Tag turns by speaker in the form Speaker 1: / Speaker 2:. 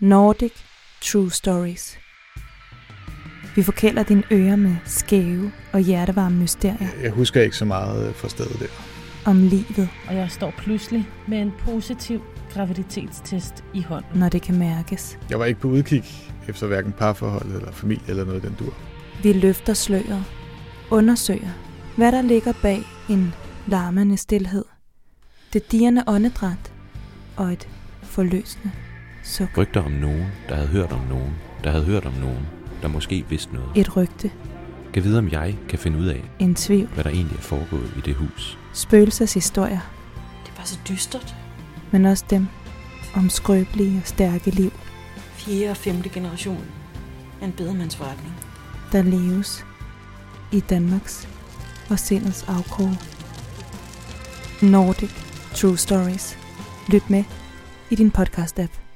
Speaker 1: Nordic True Stories. Vi forkælder dine ører med skæve og hjertevarme mysterier
Speaker 2: Jeg husker ikke så meget øh, fra stedet der.
Speaker 1: om livet,
Speaker 3: Og jeg står pludselig med en positiv graviditetstest i hånden.
Speaker 1: når det kan mærkes.
Speaker 2: Jeg var ikke på udkig efter hverken parforhold eller familie eller noget i den dur.
Speaker 1: Vi løfter sløret, undersøger, hvad der ligger bag en larmende stilhed, det dirrende åndedræt og et forløsende suk.
Speaker 4: Rygter om nogen, der havde hørt om nogen, der havde hørt om nogen, der måske vidste noget.
Speaker 1: Et rygte,
Speaker 4: Kan vide, om jeg kan finde ud af,
Speaker 1: en tvivl,
Speaker 4: hvad der egentlig er foregået i det hus.
Speaker 1: spøgelsers historier,
Speaker 5: Det er bare så dystert.
Speaker 1: men også dem om skrøbelige og stærke liv,
Speaker 5: 4. og 5. generation af en bedemandsforretning.
Speaker 1: der leves i Danmarks og sindets afkrog. Nordic True Stories. Lyt med i din podcast-app.